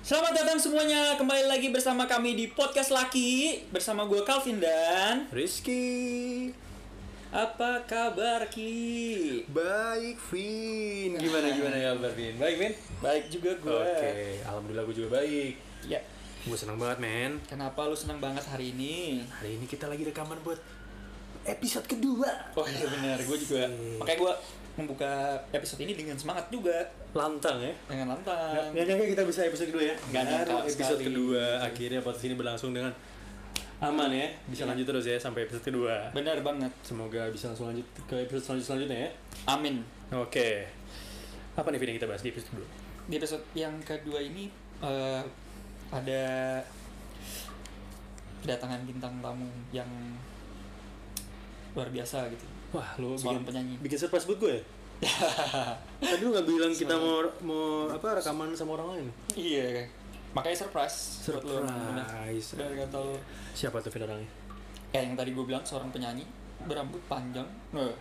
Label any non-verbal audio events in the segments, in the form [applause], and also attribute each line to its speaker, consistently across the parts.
Speaker 1: Selamat datang semuanya, kembali lagi bersama kami di Podcast Laki Bersama gue Calvin dan
Speaker 2: Rizky
Speaker 1: Apa kabar Ki?
Speaker 2: Baik Vin Gimana gimana ya kabar Vin? Baik Vin?
Speaker 1: Baik juga gue
Speaker 2: Oke Alhamdulillah gue juga baik
Speaker 1: Ya,
Speaker 2: Gue seneng banget men
Speaker 1: kenapa lu senang banget hari ini?
Speaker 2: Hari ini kita lagi rekaman buat episode kedua
Speaker 1: Oh iya bener, gue juga
Speaker 2: Asik.
Speaker 1: Makanya gue membuka episode ini dengan semangat juga
Speaker 2: Lantang ya
Speaker 1: Dengan lantang
Speaker 2: Gak nyangka kita bisa episode kedua ya
Speaker 1: Nggak nyangka
Speaker 2: Baru episode
Speaker 1: sekali.
Speaker 2: kedua Akhirnya podcast ini berlangsung dengan Aman ya Bisa lanjut terus ya sampai episode kedua
Speaker 1: Bener banget,
Speaker 2: Semoga bisa langsung lanjut ke episode selanjut- selanjutnya ya
Speaker 1: amin
Speaker 2: Oke Apa nih Vin yang kita bahas di episode kedua?
Speaker 1: Di episode yang kedua ini eh, Ada Kedatangan bintang tamu yang luar biasa gitu
Speaker 2: Wah lu
Speaker 1: Seorang
Speaker 2: bikin,
Speaker 1: penyanyi.
Speaker 2: bikin surprise buat
Speaker 1: [laughs]
Speaker 2: gue ya? Tadi lu gak bilang kita mau mau apa rekaman sama orang lain?
Speaker 1: Iya, makanya surprise. buat lu.
Speaker 2: Surprise.
Speaker 1: Dari kata lu.
Speaker 2: Siapa tuh Vin orangnya?
Speaker 1: Kayak yang tadi gue bilang seorang penyanyi berambut panjang. Eh,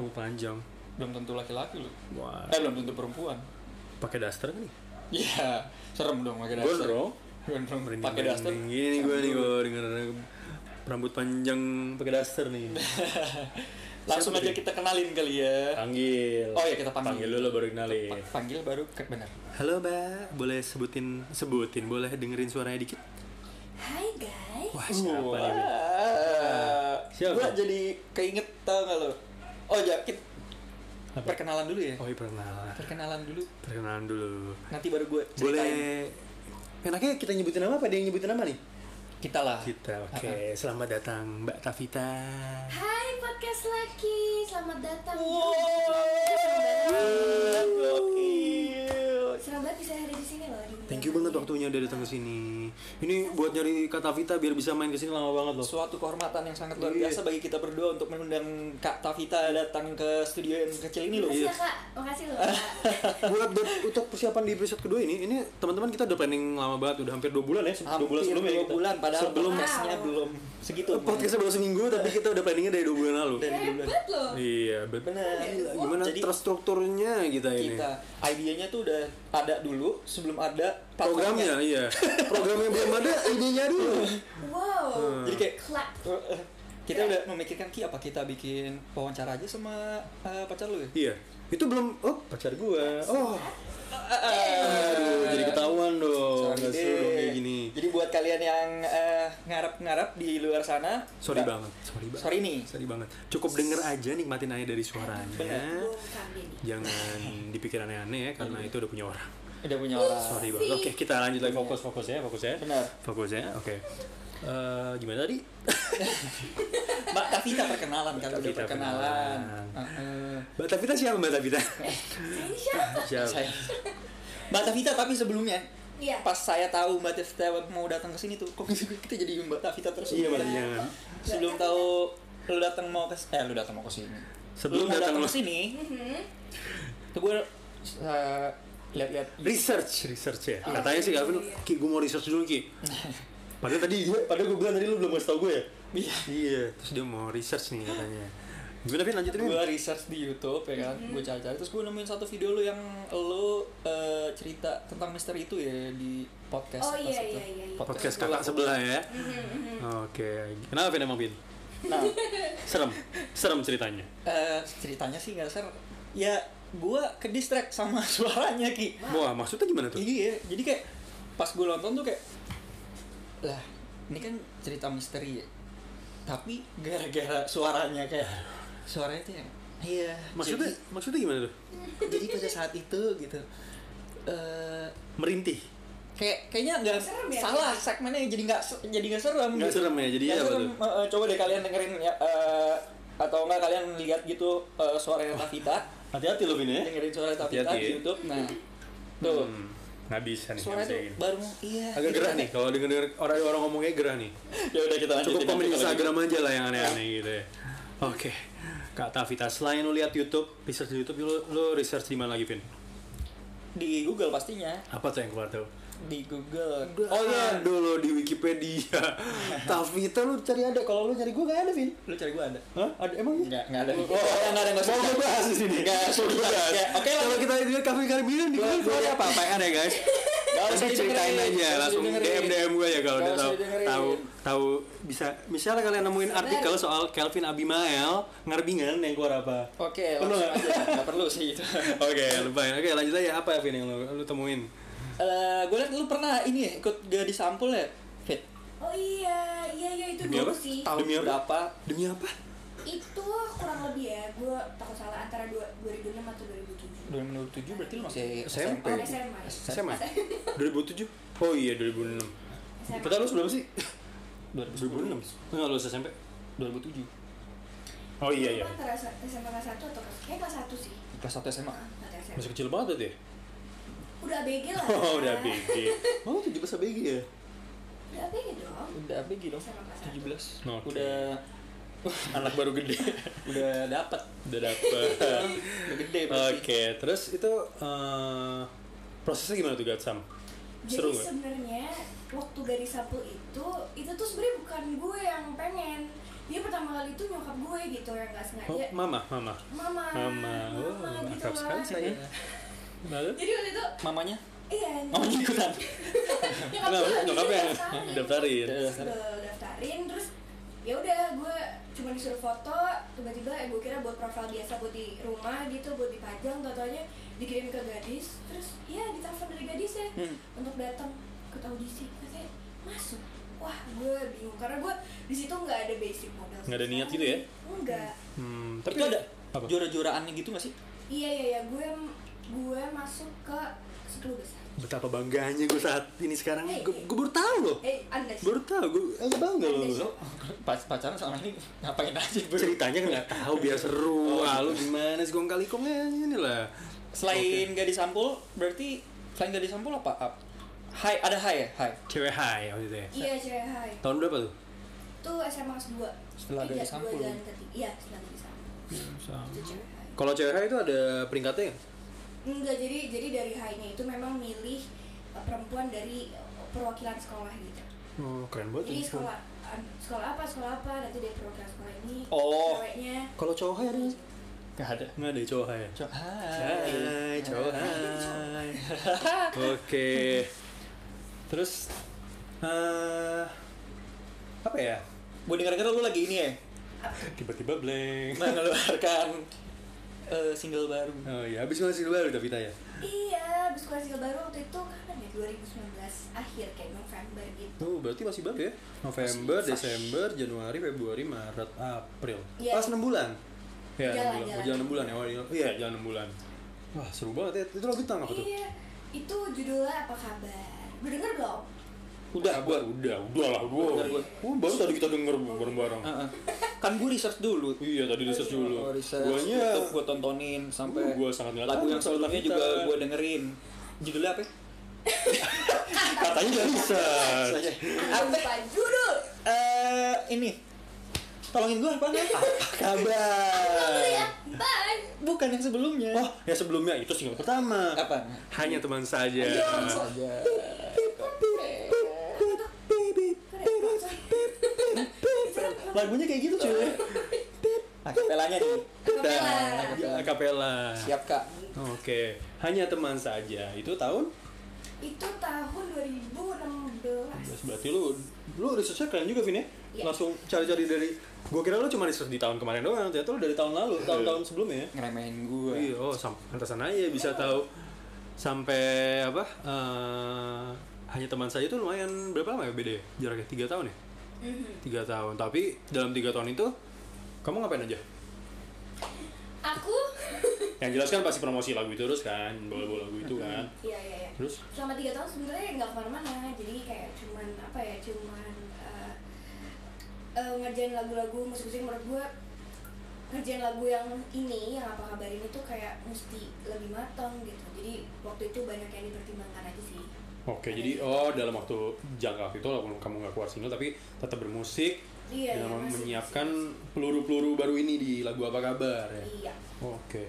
Speaker 2: Rambut panjang.
Speaker 1: belum tentu laki-laki lu.
Speaker 2: Wah.
Speaker 1: Eh, belum tentu perempuan.
Speaker 2: Pakai daster kan nih?
Speaker 1: Iya, serem dong pakai daster. Gondrong.
Speaker 2: Merinding,
Speaker 1: Pakai daster. [laughs]
Speaker 2: merinding. Ini gue nih gue dengan rambut panjang pakai daster
Speaker 1: [laughs]
Speaker 2: nih.
Speaker 1: Langsung aja
Speaker 2: Siapa dia?
Speaker 1: kita kenalin kali ya.
Speaker 2: Panggil.
Speaker 1: Oh iya, kita panggil.
Speaker 2: Panggil dulu baru kenalin.
Speaker 1: Pa- Panggil baru ke benar.
Speaker 2: Halo, Mbak. Boleh sebutin sebutin, boleh dengerin suaranya dikit?
Speaker 3: Hai guys,
Speaker 2: Wah, siapa nih? Vin? Siapa?
Speaker 1: Gue jadi keinget tau gak lo? Oh ya, kita
Speaker 2: Apa?
Speaker 1: perkenalan dulu ya.
Speaker 2: Oh, iya, perkenalan.
Speaker 1: Perkenalan dulu.
Speaker 2: Perkenalan dulu.
Speaker 1: Nanti baru gue
Speaker 2: Boleh Enaknya kita nyebutin nama apa dia yang nyebutin nama nih? Ah,
Speaker 1: kita lah.
Speaker 2: Kita, oke. Selamat datang Mbak Tavita.
Speaker 3: hai podcast laki, selamat datang. Senang banget bisa hadir di sini loh. di-
Speaker 2: Thank you banget waktunya udah datang ke sini. Ini buat nyari Kak Tavita biar bisa main ke sini lama banget loh.
Speaker 1: Suatu kehormatan yang sangat luar
Speaker 2: Iya.
Speaker 1: biasa bagi kita berdua untuk mengundang Kak Tavita datang ke studio yang kecil ini loh.
Speaker 2: Iya.
Speaker 3: Makasih ya kak, makasih loh.
Speaker 2: [laughs]
Speaker 3: Kak.
Speaker 2: buat buat- untuk persiapan di episode kedua ini, ini teman-teman kita udah planning lama banget, udah hampir dua bulan ya, se- dua
Speaker 1: Hampir
Speaker 2: bulan sebelumnya
Speaker 1: dua
Speaker 2: kita.
Speaker 1: bulan, padahal
Speaker 2: sebelum
Speaker 1: podcastnya belum segitu.
Speaker 2: podcastnya baru seminggu, tapi kita udah planningnya dari dua bulan lalu.
Speaker 1: Dari dulu.
Speaker 3: Hebat loh.
Speaker 2: Iya, benar.
Speaker 1: Benar.
Speaker 2: Gimana
Speaker 1: Jadi-
Speaker 2: terstrukturnya kita ini?
Speaker 1: Kita idenya tuh udah ada dulu sebelum ada platformnya.
Speaker 2: Programnya, iya. Programnya belum ada, idenya dulu.
Speaker 3: Wow.
Speaker 2: Hmm.
Speaker 1: Jadi kayak [laughs]
Speaker 3: Klak.
Speaker 1: kita udah memikirkan ki apa kita bikin wawancara aja sama eh, pacar lu ya?
Speaker 2: Iya. Itu belum oh pacar gua. Oh.
Speaker 1: Ah,
Speaker 2: Aduh, jadi ketahuan dong.
Speaker 1: Sorry
Speaker 2: Nggak
Speaker 1: deh.
Speaker 2: seru dong kayak gini.
Speaker 1: Jadi buat kalian yang eh, ngarep-ngarep di luar sana,
Speaker 2: Sorry
Speaker 1: nggak-
Speaker 2: banget. Sorry banget.
Speaker 1: Sorry nih.
Speaker 2: Sorry banget. Cukup denger aja nikmatin aja dari suaranya.
Speaker 1: Benar.
Speaker 3: Bukan ini.
Speaker 2: Jangan dipikir aneh-aneh ya karena itu udah punya orang.
Speaker 1: Udah punya orang.
Speaker 2: Sorry banget. Oke, kita lanjut lagi fokus fokus ya, fokus ya.
Speaker 1: Benar.
Speaker 2: Fokus ya. Oke. Eh, gimana tadi?
Speaker 1: Mbak Tavita perkenalan kan udah
Speaker 2: Tavita
Speaker 1: perkenalan.
Speaker 2: perkenalan.
Speaker 1: Heeh.
Speaker 2: Mbak Tavita siapa Mbak [laughs] Tavita?
Speaker 3: Ini siapa?
Speaker 2: siapa?
Speaker 1: Saya. Mbak Tavita tapi sebelumnya
Speaker 3: Iya.
Speaker 1: pas saya tahu Mbak Tavita mau datang ke sini tuh kok kita jadi Mbak Tavita terus.
Speaker 2: Iya, Mbak
Speaker 1: Sebelum-
Speaker 2: jangan.
Speaker 1: Sebelum tahu lu datang mau ke eh lu datang mau ke sini.
Speaker 2: Sebelum
Speaker 1: Lu mau
Speaker 2: datang
Speaker 1: datang
Speaker 2: lo.
Speaker 1: ke sini,
Speaker 3: Mm-hmm,
Speaker 1: tuh gue eh, lihat-lihat
Speaker 2: Research, research ya. Katanya sih Calvin,
Speaker 1: iya.
Speaker 2: Ki gue mau research dulu Ki. Padahal tadi gue, padahal gue bilang tadi lu belum ngasih tau gue ya.
Speaker 1: Iya.
Speaker 2: Iya, terus dia mau research nih katanya. Gimana Vin lanjutin Vin?
Speaker 1: gue research di YouTube ya kan gue cari-cari terus gue nemuin satu video lu yang lu eh, cerita tentang misteri itu ya di podcast
Speaker 3: Oh,
Speaker 1: atas
Speaker 3: iya,
Speaker 1: itu.
Speaker 3: iya, iya, iya.
Speaker 2: Podcast
Speaker 1: lu
Speaker 2: kakak
Speaker 1: lakukan.
Speaker 2: sebelah ya.
Speaker 3: mm-hmm,
Speaker 2: Oke, kenapa Vin emang Vin?
Speaker 1: nah
Speaker 3: [laughs]
Speaker 2: Serem, serem ceritanya.
Speaker 1: eh, ceritanya sih nggak ser ya gue ke distract sama [laughs] suaranya ki
Speaker 2: Wah, maksudnya gimana tuh?
Speaker 1: iya jadi kayak pas gue nonton tuh kayak lah ini kan cerita misteri ya tapi gara-gara suaranya kayak suaranya tuh yang iya
Speaker 2: Maksudnya,
Speaker 1: jadi-
Speaker 2: maksudnya gimana tuh?
Speaker 1: jadi pada saat itu gitu eh
Speaker 2: Merintih.
Speaker 1: kayak kayaknya nggak
Speaker 3: Serem ya?
Speaker 1: salah segmennya jadi nggak se- jadi nggak serem
Speaker 2: Nggak serem ya, jadi
Speaker 1: Nggak
Speaker 2: apa
Speaker 1: serem. Eh, eh, coba deh kalian dengerin ya eh, atau enggak kalian lihat gitu eh, suaranya
Speaker 2: [laughs]
Speaker 1: Tavita
Speaker 2: Hati-hati lo Vin ya.
Speaker 1: dengerin suara Tavita
Speaker 2: Hati-hati ya.
Speaker 1: di YouTube nah tuh
Speaker 2: Hmm, nggak bisa nih.
Speaker 1: suara
Speaker 2: nggak bisa
Speaker 1: tuh
Speaker 2: gini.
Speaker 1: baru iya
Speaker 2: Agak
Speaker 1: gitu
Speaker 2: gerah
Speaker 1: kan.
Speaker 2: nih, kalau denger denger orang orang ngomongnya gerah nih.
Speaker 1: [laughs] ya udah kita lanjutin
Speaker 2: Cukup
Speaker 1: nanti
Speaker 2: komen
Speaker 1: kalau gitu.
Speaker 2: Instagram aja lah yang aneh-aneh gitu ya. Oke. Kak Tavita, selain lu lihat YouTube, research di YouTube, lu, lu research di mana lagi, Vin?
Speaker 1: di Google pastinya
Speaker 2: Apa tuh yang keluar tuh?
Speaker 1: di Google.
Speaker 2: Oh iya, dulu di Wikipedia. [laughs] Tavita lu cari ada, kalau lu cari gue gak ada, Vin.
Speaker 1: Lu cari gue ada?
Speaker 2: Hah? Ada emang?
Speaker 1: Enggak, enggak ada.
Speaker 2: Oh,
Speaker 1: Enggak ada, enggak ada, enggak
Speaker 2: Mau
Speaker 1: usah.
Speaker 2: gue bahas di sini.
Speaker 1: Enggak, sudah. Ya, oke lah.
Speaker 2: Kalau kita lihat kafe Caribbean di
Speaker 1: Gua-
Speaker 2: Google
Speaker 1: gua-
Speaker 2: ada apa apaan ya, [laughs] guys?
Speaker 1: Gak usah
Speaker 2: Nanti ceritain
Speaker 1: didengerin,
Speaker 2: aja
Speaker 1: gak usah
Speaker 2: langsung DM
Speaker 1: didengerin.
Speaker 2: DM gue ya kalau
Speaker 1: Gak
Speaker 2: udah
Speaker 1: usah
Speaker 2: tahu
Speaker 1: didengerin.
Speaker 2: tahu tahu bisa misalnya kalian nemuin artikel soal Kelvin Abimael ngarbingan yang keluar apa?
Speaker 1: Oke,
Speaker 2: Perlu
Speaker 1: langsung
Speaker 2: nggak?
Speaker 1: aja. Enggak perlu sih itu.
Speaker 2: Oke, lupain. Oke, lanjut aja apa ya Vin yang lu, lu temuin?
Speaker 1: Eh, gue liat lu pernah ini ya, ikut gadis sampul ya, Fit.
Speaker 3: Oh iya, iya iya itu
Speaker 2: Demi
Speaker 3: dulu
Speaker 2: apa?
Speaker 3: sih.
Speaker 1: Tahun
Speaker 2: Demi apa?
Speaker 1: berapa?
Speaker 2: Demi apa?
Speaker 3: Itu kurang lebih ya, gue takut salah antara dua- 2006 atau 2007.
Speaker 1: 2007 berarti lu masih
Speaker 2: SMP.
Speaker 3: Oh, SMA.
Speaker 2: SMA? 2007? Oh iya, 2006.
Speaker 3: SMA.
Speaker 2: Kita lu sebelum sih?
Speaker 1: 2010.
Speaker 2: 2006. Lu nggak lulus SMP?
Speaker 1: 2007.
Speaker 2: Oh iya iya.
Speaker 3: Gua Antara sa- SMA kelas 1 atau kelas kayak kelas 1 sih.
Speaker 1: Kelas 1 SMA.
Speaker 3: Ah, nggak tahu SMA.
Speaker 2: Masih kecil banget tuh ya?
Speaker 3: Udah ABG lah.
Speaker 2: [laughs] Oh, udah BG. Oh, 17 ABG ya?
Speaker 3: Udah ABG dong.
Speaker 1: Udah apa gitu?
Speaker 3: SMA kelas
Speaker 1: 17.
Speaker 2: Oke.
Speaker 1: [laughs] Udah
Speaker 2: Anak baru gede.
Speaker 1: [laughs] udah dapat.
Speaker 2: Udah dapet.
Speaker 1: Udah gede
Speaker 2: [laughs] Oke,
Speaker 1: berarti.
Speaker 2: terus itu eh, prosesnya gimana tuh Gatsam? Seru
Speaker 3: Jadi
Speaker 2: nggak?
Speaker 3: sebenarnya waktu garis sapu itu itu tuh sebenarnya bukan gue yang pengen. Dia pertama kali itu nyokap gue gitu yang nggak
Speaker 2: Oh,
Speaker 3: sengaja.
Speaker 2: mama, mama.
Speaker 3: Mama,
Speaker 2: Mama. Oh,
Speaker 3: mama gitu
Speaker 2: akrab sekali
Speaker 3: loh.
Speaker 2: sih.
Speaker 1: Iya.
Speaker 2: Lalu?
Speaker 3: Jadi waktu itu
Speaker 1: Mamanya?
Speaker 3: iya.
Speaker 1: Mamanya ikutan.
Speaker 3: nyokap
Speaker 2: Kenapa?
Speaker 3: gue
Speaker 2: Oh, Nyokap ya? yang
Speaker 3: daftarin.
Speaker 2: daftarin.
Speaker 1: Udah.
Speaker 3: Terus gue daftarin terus ya udah gue cuma disuruh foto tiba-tiba eh gue kira buat profil biasa buat di rumah gitu buat dipajang totalnya dikirim ke gadis terus ya ditelepon dari gadisnya
Speaker 1: Hmm.
Speaker 3: untuk datang ke audisi katanya masuk wah gue bingung karena gue di situ nggak ada basic model
Speaker 2: Nggak ada
Speaker 3: sama
Speaker 2: niat
Speaker 3: sekali.
Speaker 2: gitu ya?
Speaker 3: enggak
Speaker 2: Hmm,
Speaker 1: Tapi
Speaker 2: tapi
Speaker 1: itu ada
Speaker 2: Apa?
Speaker 1: juara-juaraannya gitu gak sih?
Speaker 3: iya iya iya gue gue masuk ke 10 besar
Speaker 2: Betapa bangganya gue saat ini sekarang.
Speaker 3: Hey.
Speaker 2: Gue gue baru tahu loh.
Speaker 3: eh anda
Speaker 2: Baru tahu gue. Eh, bangga loh.
Speaker 3: Ada
Speaker 2: lu.
Speaker 3: sih.
Speaker 1: Pas pacaran sama ini ngapain aja bro?
Speaker 2: Ceritanya kan nggak tahu biar seru.
Speaker 1: Oh,
Speaker 2: Wah, lu iya. gimana sih gong kali kongnya ini lah.
Speaker 1: Selain gadis sampul, berarti selain gadis sampul apa? Ap- Hai, ada hai ya? Hai.
Speaker 2: Cewek high waktu itu ya.
Speaker 3: iya cewek hai
Speaker 2: Tahun berapa tuh?
Speaker 3: tuh SMA kelas Iya, 2
Speaker 1: Setelah dari sampul.
Speaker 3: jalan ketiga iya setelah dari sampul itu cewek hai
Speaker 2: Kalau cewek high itu ada peringkatnya nggak?
Speaker 3: Enggak, jadi jadi dari high-nya itu memang milih eh, perempuan dari eh, perwakilan sekolah gitu.
Speaker 2: Oh, keren
Speaker 3: Jadi
Speaker 2: banget. tuh.
Speaker 3: sekolah an- sekolah apa sekolah apa nanti dari perwakilan sekolah ini
Speaker 1: Oh.
Speaker 3: ceweknya.
Speaker 2: Kalau cowok high ada nggak sih?
Speaker 1: Gak ada.
Speaker 2: Nggak ada cowok high.
Speaker 1: Co- hai.
Speaker 2: Hai, cowok. Hai. [laughs] Oke. Terus eh apa ya?
Speaker 1: Gue denger-denger lu lagi ini ya?
Speaker 2: Tiba-tiba blank.
Speaker 1: Mengeluarkan [laughs] eh, single baru.
Speaker 2: Oh iya, habis ngasih baru Davita ya.
Speaker 3: Iya, abis kelas tiga baru waktu itu kapan ya 2019 akhir kayak November gitu.
Speaker 2: Oh, berarti masih baru ya. November, Desember, Januari, Februari, Maret, April.
Speaker 3: Iya.
Speaker 2: Pas 6 bulan. Ya, 6
Speaker 3: Jalan,
Speaker 2: bulan.
Speaker 3: jalan.
Speaker 2: Jalan 6 bulan ya. Oh, iya. Iya, jalan 6 bulan. Wah, seru banget ya. Itu lagu tentang apa tuh?
Speaker 3: Iya, itu judulnya apa kabar? Udah denger belum?
Speaker 1: Udah,
Speaker 2: Kabar, udah, udah lah, udah. Ah.
Speaker 1: Bener, gua.
Speaker 2: Oh, baru tadi kita denger bareng-bareng.
Speaker 1: Heeh. Kan gue research dulu.
Speaker 2: Iya, tadi research
Speaker 1: Oh,
Speaker 2: dulu.
Speaker 1: research.
Speaker 2: Guanya
Speaker 1: gue tontonin sampai
Speaker 2: Uh, gua sangat nggak
Speaker 1: lagu
Speaker 2: tahu
Speaker 1: yang
Speaker 2: soal
Speaker 1: sebelumnya
Speaker 2: kita.
Speaker 1: juga gue dengerin. Judulnya apa? ya?
Speaker 2: katanya udah research.
Speaker 1: Saja. Apa?
Speaker 3: Apa judul?
Speaker 1: Eh, ini. Tolongin gue
Speaker 2: [laughs]
Speaker 1: apa?
Speaker 2: Kabar.
Speaker 3: Ya, bye.
Speaker 1: Bukan yang sebelumnya.
Speaker 2: Oh, yang sebelumnya itu single pertama.
Speaker 1: Apa?
Speaker 2: Hanya teman saja.
Speaker 1: Iya, Saja.
Speaker 2: Lagunya kayak gitu cuy.
Speaker 1: Akapelanya nih.
Speaker 3: Akapela.
Speaker 2: Di akapela.
Speaker 1: Siap kak.
Speaker 2: Oke, hanya teman saja. Itu tahun
Speaker 3: Itu tahun 2016.
Speaker 2: berarti lu lu researchnya keren juga Vin ya.
Speaker 3: Iya.
Speaker 2: Langsung cari-cari dari gua kira lu cuma research di tahun kemarin doang, ternyata lu dari tahun lalu, tahun-tahun sebelumnya ya.
Speaker 1: Ngeremehin gue.
Speaker 2: Iya, oh, sam- pantesan aja bisa tahu sampai apa? eh, hanya teman saja itu lumayan berapa lama ya beda ya? Jaraknya tiga tahun ya?
Speaker 3: Mhm.
Speaker 2: Tiga tahun. Tapi dalam tiga tahun itu kamu ngapain aja?
Speaker 3: Aku [laughs]
Speaker 2: Yang jelas kan pasti promosi lagu itu terus kan, bawa-bawa lagu itu kan.
Speaker 3: Iya, iya, iya.
Speaker 2: Terus
Speaker 3: Selama 3 tahun sebenarnya nggak kemana-mana Jadi kayak cuman apa ya Cuman eh, eh, ngerjain lagu-lagu musik-musik menurut gue Ngerjain lagu yang ini Yang apa kabar ini tuh kayak mesti lebih matang gitu Jadi waktu itu banyak yang dipertimbangkan aja sih
Speaker 2: Oke, jadi oh dalam waktu jangka waktu itu walaupun kamu nggak keluar single tapi tetap bermusik
Speaker 3: Iya,
Speaker 2: dengan
Speaker 3: iya, masih-
Speaker 2: menyiapkan peluru-peluru baru ini di lagu apa kabar ya.
Speaker 3: Iya
Speaker 2: Oke.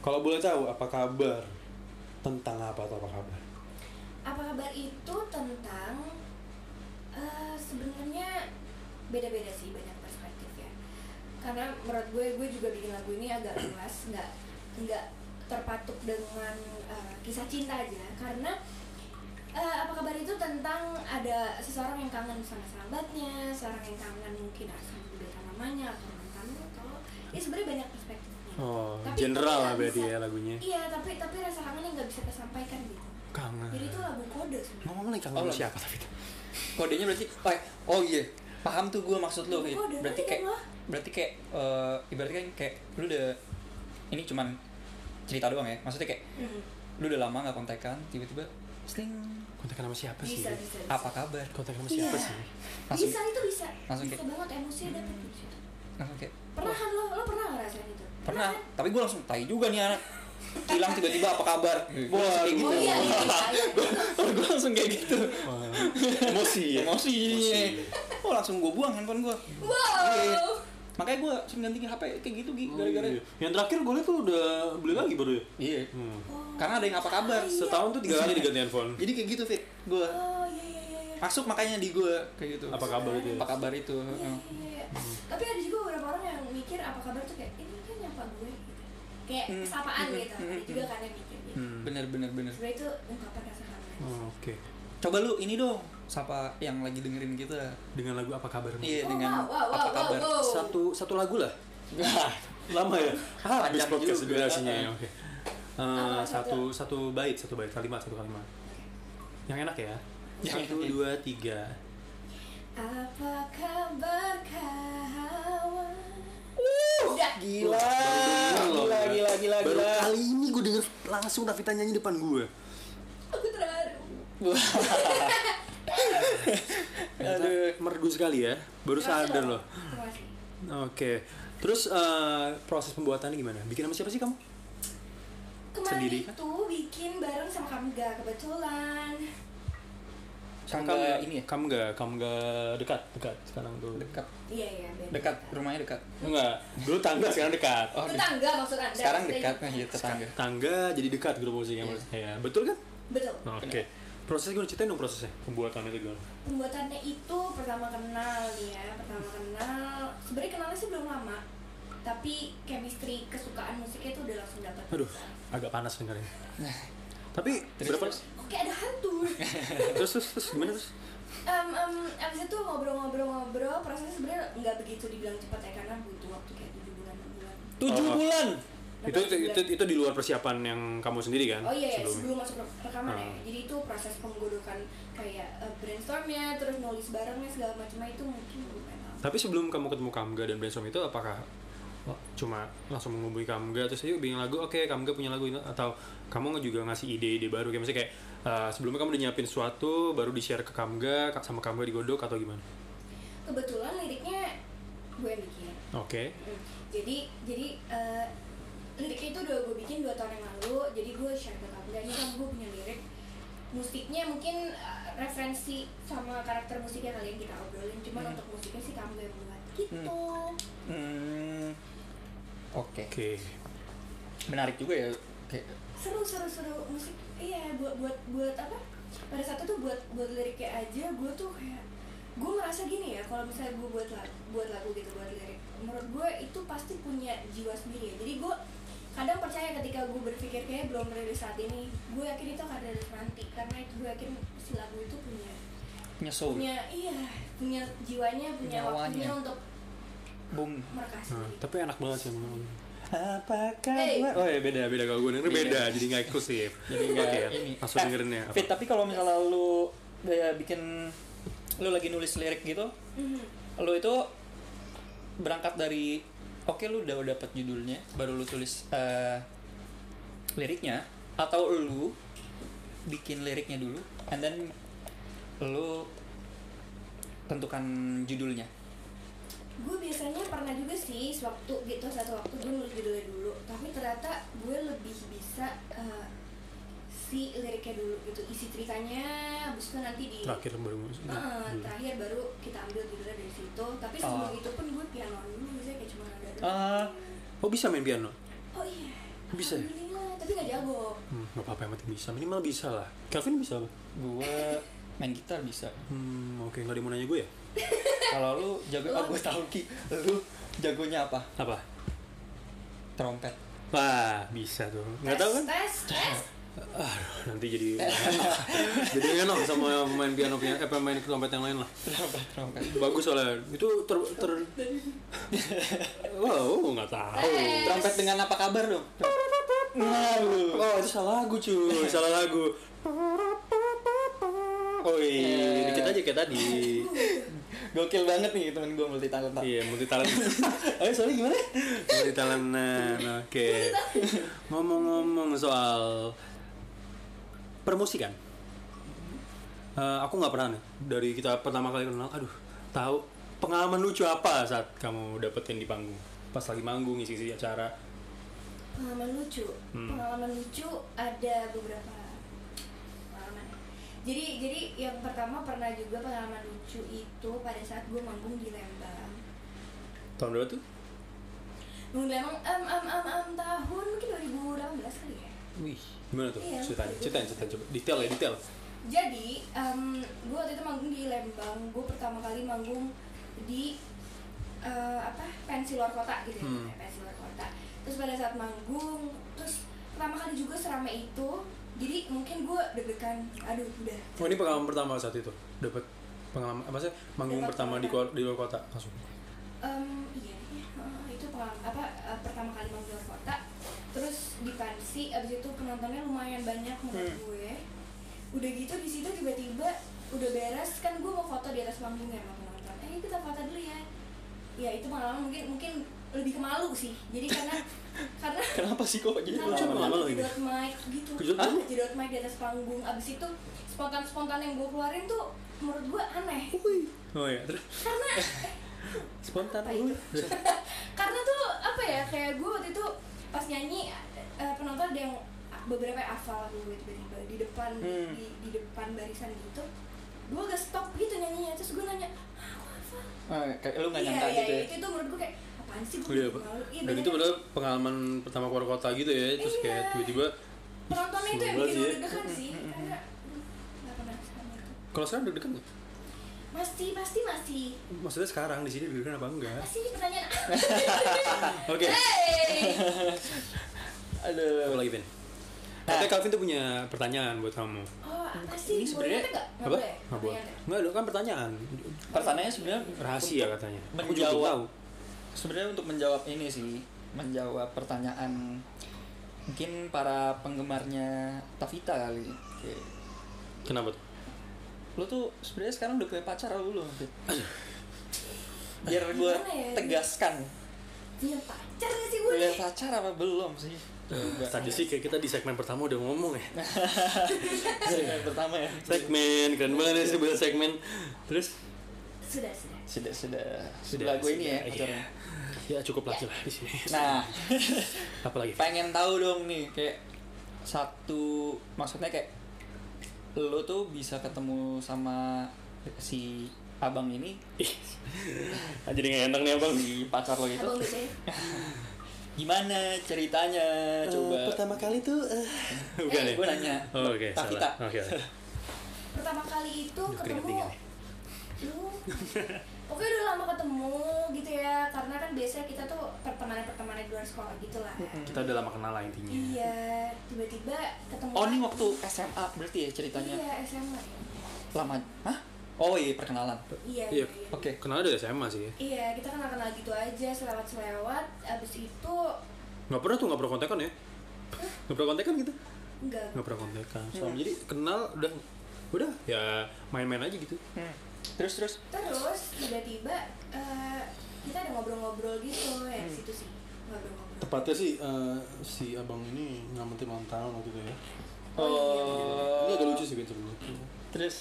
Speaker 2: Kalau boleh tahu apa kabar tentang apa atau apa kabar?
Speaker 3: apa kabar itu tentang eh, sebenarnya beda-beda sih banyak perspektif ya karena menurut gue gue juga bikin lagu ini agak luas nggak nggak terpatuk dengan eh, kisah cinta aja karena eh, apa kabar itu tentang ada seseorang yang kangen sama sahabatnya seorang yang kangen mungkin sama bibit namanya atau mantannya atau ya sebenarnya banyak perspektifnya
Speaker 2: Oh,
Speaker 3: Tapi
Speaker 2: general
Speaker 3: itu
Speaker 2: lah
Speaker 3: nggak
Speaker 2: berarti
Speaker 3: bisa-
Speaker 2: ya lagunya.
Speaker 3: iya tapi tapi rasa kangennya nggak bisa tersampaikan gitu
Speaker 2: Kangen.
Speaker 3: jadi itu lagu kode sebenarnya
Speaker 2: Ngomong lagi
Speaker 1: Oh,
Speaker 2: kangen
Speaker 1: lagu.
Speaker 2: siapa tapi itu?
Speaker 1: kodenya berarti oh, oh iya paham tuh gue maksud lo kayak
Speaker 3: Kode
Speaker 1: berarti
Speaker 3: aja
Speaker 1: kayak
Speaker 3: loh.
Speaker 1: berarti kayak eh, ibaratnya kan kayak lu udah ini cuman cerita doang ya maksudnya kayak
Speaker 3: Hmm.
Speaker 1: lu udah lama nggak kontekan tiba-tiba sling
Speaker 2: Kontak sama siapa sih?
Speaker 3: bisa bisa bisa.
Speaker 1: apa kabar
Speaker 2: Kontak sama siapa
Speaker 3: Iya.
Speaker 2: sih?
Speaker 1: langsung-
Speaker 3: bisa itu bisa
Speaker 1: langsung
Speaker 3: bisa banget emosinya dapet di situ
Speaker 1: langsung kayak
Speaker 3: gitu. pernah kan lo lo pernah ngerasain itu
Speaker 1: pernah tapi gue langsung tai juga nih anak hilang tiba-tiba apa kabar gue langsung kayak
Speaker 3: kan?
Speaker 1: gitu
Speaker 3: oh
Speaker 1: [laughs] gue langsung kayak gitu
Speaker 2: [laughs] Wah,
Speaker 3: iya iya iya, iya.
Speaker 2: Emosi ya.
Speaker 1: emosi
Speaker 2: Emosi.
Speaker 1: oh langsung gue buang handphone gue Iya.
Speaker 3: wow Oh.
Speaker 1: makanya gue sering ganti HP kayak gitu Gi,
Speaker 2: Oh,
Speaker 1: gara-gara
Speaker 2: iya. Yang terakhir gue liat tuh udah beli lagi baru ya.
Speaker 1: iya
Speaker 2: Hmm.
Speaker 3: Oh.
Speaker 1: karena ada yang apa kabar
Speaker 3: Iya.
Speaker 2: Setahun tuh tiga kali diganti handphone.
Speaker 1: jadi kayak gitu fit gue
Speaker 3: oh iya iya iya iya.
Speaker 1: masuk makanya di gue kayak gitu
Speaker 2: Apa kabar itu? ya?
Speaker 1: apa kabar itu
Speaker 3: Iya,
Speaker 1: heeh.
Speaker 3: iya, iya.
Speaker 1: Hmm.
Speaker 3: tapi ada juga beberapa orang yang mikir apa kabar tuh kayak ini kan nyapa gue gitu kayak
Speaker 1: Hmm.
Speaker 3: sapaan
Speaker 1: Hmm.
Speaker 3: gitu ada
Speaker 1: Hmm.
Speaker 3: juga kan yang mikir gitu
Speaker 2: Hmm.
Speaker 1: bener bener bener
Speaker 3: sebenarnya itu ungkapan rasa kangen
Speaker 1: Hmm.
Speaker 2: Oh, Oke.
Speaker 1: coba lu ini dong sapa yang lagi dengerin kita
Speaker 2: Dengan lagu apa kabar?
Speaker 1: iya
Speaker 3: Oh,
Speaker 1: dengan
Speaker 3: wow, wow,
Speaker 1: apa
Speaker 3: wow,
Speaker 1: kabar
Speaker 3: wow, wow.
Speaker 2: Satu satu lagu lah.
Speaker 1: Nah,
Speaker 2: Lama ya. Habis
Speaker 1: Panjang
Speaker 2: podcast
Speaker 1: juga.
Speaker 2: durasinya ya. Oke. Eh,
Speaker 3: Apa
Speaker 2: satu satu bait satu bait kalimat satu kalimat. Yang enak ya.
Speaker 1: Yang enak
Speaker 2: satu
Speaker 1: ya.
Speaker 2: dua tiga.
Speaker 3: apa kabar kawan udah
Speaker 1: gila
Speaker 2: Baru denger loh,
Speaker 1: gila
Speaker 2: ya.
Speaker 1: gila gila
Speaker 2: Baru
Speaker 1: gila
Speaker 2: kali ini gue denger langsung Rafita nyanyi depan gue.
Speaker 3: aku terharu
Speaker 1: Aduh.
Speaker 2: merdu sekali ya. Baru sadar loh.
Speaker 3: Terima kasih.
Speaker 2: Oke. Terus eh, proses pembuatannya gimana? Bikin sama siapa sih kamu?
Speaker 3: kemarin
Speaker 2: Sendiri kah?
Speaker 3: itu bikin bareng sama Kamga kebetulan
Speaker 1: Kamu
Speaker 2: Kamu
Speaker 1: nggak
Speaker 2: nggak-
Speaker 1: ini ya
Speaker 2: Kamu nggak, kamu nggak dekat, dekat sekarang tuh.
Speaker 1: dekat
Speaker 3: iya iya beda.
Speaker 1: dekat rumahnya dekat
Speaker 2: Enggak, dulu tangga sekarang dekat.
Speaker 1: oh di-
Speaker 3: tetangga maksud anda
Speaker 1: sekarang
Speaker 3: maksudnya.
Speaker 1: dekat nah iya tetangga
Speaker 2: Tangga jadi dekat grup musiknya
Speaker 1: Iya.
Speaker 2: Mas. Ya, betul kan?
Speaker 3: betul
Speaker 2: Oke. Prosesnya gimana ceritain dong prosesnya pembuatannya itu gimana?
Speaker 3: pembuatannya itu pertama kenal ya pertama kenal sebenarnya kenalnya sih belum lama tapi chemistry kesukaan musiknya itu udah langsung dapat
Speaker 2: Aduh, agak panas dengarnya. [laughs] Tapi
Speaker 1: Terus,
Speaker 2: berapa?
Speaker 1: terus.
Speaker 3: oke ada hantu
Speaker 2: [laughs] Terus terus terus gimana terus?
Speaker 3: Em, em, abis itu ngobrol-ngobrol-ngobrol prosesnya sebenarnya nggak begitu dibilang cepat ya karena butuh waktu kayak tujuh bulan enam bulan
Speaker 1: tujuh
Speaker 2: Oh.
Speaker 1: bulan
Speaker 2: Itu, itu itu itu di luar persiapan yang kamu sendiri kan?
Speaker 3: Oh iya, iya,
Speaker 2: sebelumnya?
Speaker 3: sebelum masuk re- rekaman ya.
Speaker 2: Ah.
Speaker 3: Jadi itu proses penggodokan kayak eh, brainstormnya, terus nulis barengnya segala macamnya itu mungkin bukan lama.
Speaker 2: Tapi sebelum kamu ketemu Kamga dan brainstorm itu apakah cuma langsung menghubungi Kamga terus yuk bikin lagu oke Kamga punya lagu ini atau kamu juga ngasih ide-ide baru kayak misalnya kayak eh, sebelumnya kamu udah nyiapin sesuatu baru di share ke Kamga ka- sama Kamga digodok atau gimana?
Speaker 3: Kebetulan liriknya gue yang bikin.
Speaker 2: Oke.
Speaker 3: Mm. Jadi jadi eh, liriknya itu udah gue bikin dua tahun yang lalu. Jadi gue share ke kamu. Dan ini kan gue punya lirik. Musiknya mungkin eh, referensi sama karakter musiknya kalian kita obrolin. Cuman
Speaker 1: Hmm.
Speaker 3: untuk musiknya sih kamu yang buat. Gitu.
Speaker 1: Hmm, oke
Speaker 2: Oke.
Speaker 1: menarik juga ya kayak
Speaker 3: seru seru seru musik iya buat buat buat apa pada saat itu buat buat liriknya aja gue tuh kayak gue merasa gini ya kalau misalnya gue buat lagu buat lagu gitu buat lirik menurut gue itu pasti punya jiwa sendiri ya jadi gue kadang percaya ketika gue berpikir kayak belum rilis saat ini gue yakin itu akan rilis nanti karena itu gue yakin si lagu itu punya
Speaker 1: nyesel
Speaker 3: punya iya punya jiwanya punya
Speaker 1: Nyawanya.
Speaker 3: waktunya untuk
Speaker 1: bung
Speaker 3: merekasi
Speaker 2: Nah, tapi enak banget sih emang.
Speaker 1: apa
Speaker 3: Hey.
Speaker 2: Oh ya beda beda kalau gue denger
Speaker 1: Iya.
Speaker 2: beda jadi nggak eksklusif.
Speaker 1: jadi nggak
Speaker 2: Oke,
Speaker 1: ini
Speaker 2: langsung
Speaker 1: Eh,
Speaker 2: dengerin ya.
Speaker 1: Fit, tapi kalau misalnya lu ya, bikin lu lagi nulis lirik gitu
Speaker 3: Mhm.
Speaker 1: lu itu berangkat dari oke lu udah dapat judulnya baru lu tulis eh, liriknya atau lu bikin liriknya dulu and then lu tentukan judulnya
Speaker 3: gue biasanya pernah juga sih sewaktu gitu satu waktu gue nulis judulnya dulu tapi ternyata gue lebih bisa eh, si liriknya dulu gitu isi ceritanya habis itu nanti di
Speaker 2: Terakhir Hmm. baru Nah, musik.
Speaker 3: Eh, terakhir baru kita ambil judulnya dari situ tapi sebelum
Speaker 1: Oh.
Speaker 3: itu pun gue piano dulu biasanya kayak cuma ada
Speaker 1: Ah.
Speaker 2: Oh bisa main piano?
Speaker 3: oh iya
Speaker 2: Bisa ya?
Speaker 3: Alhamdulillah, tapi nggak jago
Speaker 2: Hmm, gak apa-apa yang penting bisa. Minimal bisa lah. Calvin bisa apa?
Speaker 1: gue main gitar bisa
Speaker 2: Hmm, oke. Gak ada yang mau nanya gue ya?
Speaker 1: kalau lu jago oh gue tahu ki lu jagonya apa
Speaker 2: Apa?
Speaker 1: trompet
Speaker 2: Wah, bisa tuh. Gak
Speaker 3: tes,
Speaker 2: tau kan?
Speaker 3: tes tes
Speaker 2: Aduh, nanti jadi... [laughs] jadi enak sama pemain piano, piano eh, pemain trompet yang lain lah.
Speaker 1: trompet trompet
Speaker 2: Bagus soalnya. Itu ter... ter... wow, gak tahu.
Speaker 1: trompet dengan apa kabar dong nah lu
Speaker 2: Oh, itu salah lagu cuy. Salah lagu. Oh iya, dikit aja kayak tadi.
Speaker 1: gokil banget nih temen gue multi talenta
Speaker 2: Iya, multi talent.
Speaker 1: ayo soalnya gimana
Speaker 2: Multi talentan. nah, Oke. Ngomong-ngomong soal permusikan. Eh, aku nggak pernah nih dari kita pertama kali kenal. Aduh, tahu pengalaman lucu apa saat kamu dapetin di panggung? Pas lagi manggung ngisi-ngisi acara.
Speaker 3: pengalaman lucu pengalaman lucu ada beberapa pengalaman jadi jadi yang pertama pernah juga pengalaman lucu itu pada saat gue manggung di Lembang
Speaker 2: Tahun berapa tuh?
Speaker 3: manggung di Lembang em em em em tahun mungkin 2018 kali ya
Speaker 2: Wih, gimana tuh?
Speaker 3: Iya,
Speaker 2: Ceritain,
Speaker 3: betul.
Speaker 2: ceritain, ceritain coba. Detail ya, detail.
Speaker 3: jadi gue waktu itu manggung di Lembang gue pertama kali manggung di eh, apa pensi luar kota gitu ya
Speaker 2: Hmm.
Speaker 3: pensi luar kota terus pada saat manggung terus pertama kali juga seramai itu jadi mungkin gue deg-degan aduh udah
Speaker 2: Oh ini pengalaman pertama saat itu dapat pengalaman apa sih manggung
Speaker 3: Dapat
Speaker 2: pertama di
Speaker 3: pengalaman.
Speaker 2: luar, di luar kota langsung.
Speaker 3: Em, iya iya, eh, itu pengalaman apa eh, pertama kali manggung di luar kota terus di pensi abis itu penontonnya lumayan banyak menurut
Speaker 1: Hmm.
Speaker 3: gue udah gitu di situ tiba-tiba udah beres kan gue mau foto di atas panggung ya sama penonton eh kita foto dulu ya ya itu pengalaman mungkin mungkin lebih ke malu sih jadi karena karena
Speaker 1: kenapa sih kok jadi
Speaker 3: karena
Speaker 1: lucu
Speaker 2: Cuma malu
Speaker 3: gue
Speaker 2: lagi.
Speaker 3: kejedot mic gitu
Speaker 2: Kejedot
Speaker 3: Hah?
Speaker 2: mic?
Speaker 3: kejedot mic di atas panggung abis itu spontan spontan yang gue keluarin tuh menurut gue aneh
Speaker 2: Oh iya, terus
Speaker 3: karena
Speaker 2: spontan.
Speaker 3: Apa itu?
Speaker 2: Terus,
Speaker 3: karena tuh apa ya kayak gue waktu itu pas nyanyi eh, penonton ada yang beberapa yang hafal gue tiba-tiba di depan
Speaker 1: Hmm.
Speaker 3: di, di depan barisan gitu gue agak stop gitu nyanyinya terus gue nanya "Ah, aku hafal
Speaker 1: Eh, kayak lu nggak
Speaker 3: iya
Speaker 1: nyangka
Speaker 3: iya
Speaker 1: gitu ya
Speaker 3: itu tuh menurut gue kayak apaan sih gue
Speaker 2: Iya,
Speaker 3: baru
Speaker 2: Pak.
Speaker 3: tahu." Iya,
Speaker 2: dan
Speaker 3: bener.
Speaker 2: itu padahal pengalaman pertama keluar kota gitu ya, terus
Speaker 3: Iya.
Speaker 2: kayak tiba-tiba.
Speaker 3: penontonnya itu yang
Speaker 2: Sebelas
Speaker 3: bikin
Speaker 2: ya.
Speaker 3: gue deg-degan
Speaker 1: Hmm,
Speaker 3: sih karena aduh, nggak pernah sama itu
Speaker 2: Kalau sekarang deg-degan nggak?
Speaker 3: pasti pasti masih
Speaker 2: Maksudnya sekarang di sini deg-degan apa enggak?
Speaker 3: pasti
Speaker 1: [laughs]
Speaker 3: pertanyaan
Speaker 2: Oke,
Speaker 3: hey
Speaker 1: aduh
Speaker 2: aku lagi Vin. Katanya Calvin tuh punya pertanyaan buat kamu.
Speaker 3: oh apa sih
Speaker 1: Ini sebenarnya-
Speaker 3: boleh nggak nggak
Speaker 2: Apa?
Speaker 3: boleh
Speaker 2: Nggak boleh.
Speaker 3: pertanyaan.
Speaker 2: Nggak, lu kan pertanyaan.
Speaker 1: pertanyaannya sebenarnya
Speaker 2: Rahasia katanya. Aku juga belum
Speaker 1: Menjawab.
Speaker 2: tahu.
Speaker 1: sebenarnya untuk menjawab ini sih menjawab pertanyaan mungkin para penggemarnya Tavita kali Oke.
Speaker 2: Kenapa tuh?
Speaker 1: lu tuh sebenarnya sekarang udah punya pacar atau belum Fit? biar gue
Speaker 3: Gimana ya?
Speaker 1: tegaskan
Speaker 3: punya pacar nggak Iya, sih gue
Speaker 1: punya
Speaker 3: nih?
Speaker 1: pacar apa belum sih Coba.
Speaker 2: Tadi sih kayak kita di segmen pertama udah ngomong ya.
Speaker 1: Segmen pertama ya
Speaker 2: Segmen, keren banget ya sebuah segmen. Terus
Speaker 3: sudah sudah
Speaker 1: sudah sudah sebelah gue ini ya
Speaker 2: sudah,
Speaker 1: pacarnya
Speaker 2: iya. Ya cukup lagi lah di sini.
Speaker 1: nah
Speaker 2: Apalagi?
Speaker 1: pengen tahu dong nih kayak satu maksudnya kayak lo tuh bisa ketemu sama si abang ini
Speaker 2: Ah, jadi nggak enak nih abang.
Speaker 1: si pacar lo itu
Speaker 3: abang gue
Speaker 1: gimana ceritanya coba
Speaker 2: kali tuh. Eh, Bukan ya?
Speaker 1: gue nanya
Speaker 2: Oh, Oke,
Speaker 1: Tavita
Speaker 2: salah. Oke. oke.
Speaker 3: pertama kali itu
Speaker 2: Aduh,
Speaker 3: Oh, ketemu
Speaker 2: keringat-keringat nih.
Speaker 3: lu oke udah lama ketemu gitu ya karena kan biasanya kita tuh pertemanan pertemanan di luar sekolah gitu lah
Speaker 2: ya. Kita udah lama kenal lah intinya.
Speaker 3: iya tiba-tiba ketemu
Speaker 1: oh ini
Speaker 3: lagi.
Speaker 1: waktu SMA berarti ya ceritanya
Speaker 3: iya SMA ya.
Speaker 1: lama hah oh iya perkenalan
Speaker 3: iya
Speaker 2: Iya,
Speaker 3: iya iya.
Speaker 1: oke
Speaker 2: Kenal dari SMA sih. ya?
Speaker 3: iya kita kenal kenal gitu aja selewat selewat abis itu
Speaker 2: Nggak pernah tuh nggak pernah kontekan ya? Nggak pernah kontekan kita?
Speaker 3: enggak
Speaker 2: Nggak pernah kontekan.
Speaker 3: Iya.
Speaker 2: Soalnya jadi kenal udah udah ya main-main aja gitu.
Speaker 1: Hmm. terus terus
Speaker 3: terus tiba-tiba eh, kita ada ngobrol-ngobrol gitu ya di situ sih ngobrol-ngobrol
Speaker 4: Tepatnya sih eh, si abang ini nyampetin ulang tahun waktu itu ya.
Speaker 3: iya,
Speaker 4: Ini
Speaker 1: oh
Speaker 4: agak lucu sih Vin sebenarnya.
Speaker 1: terus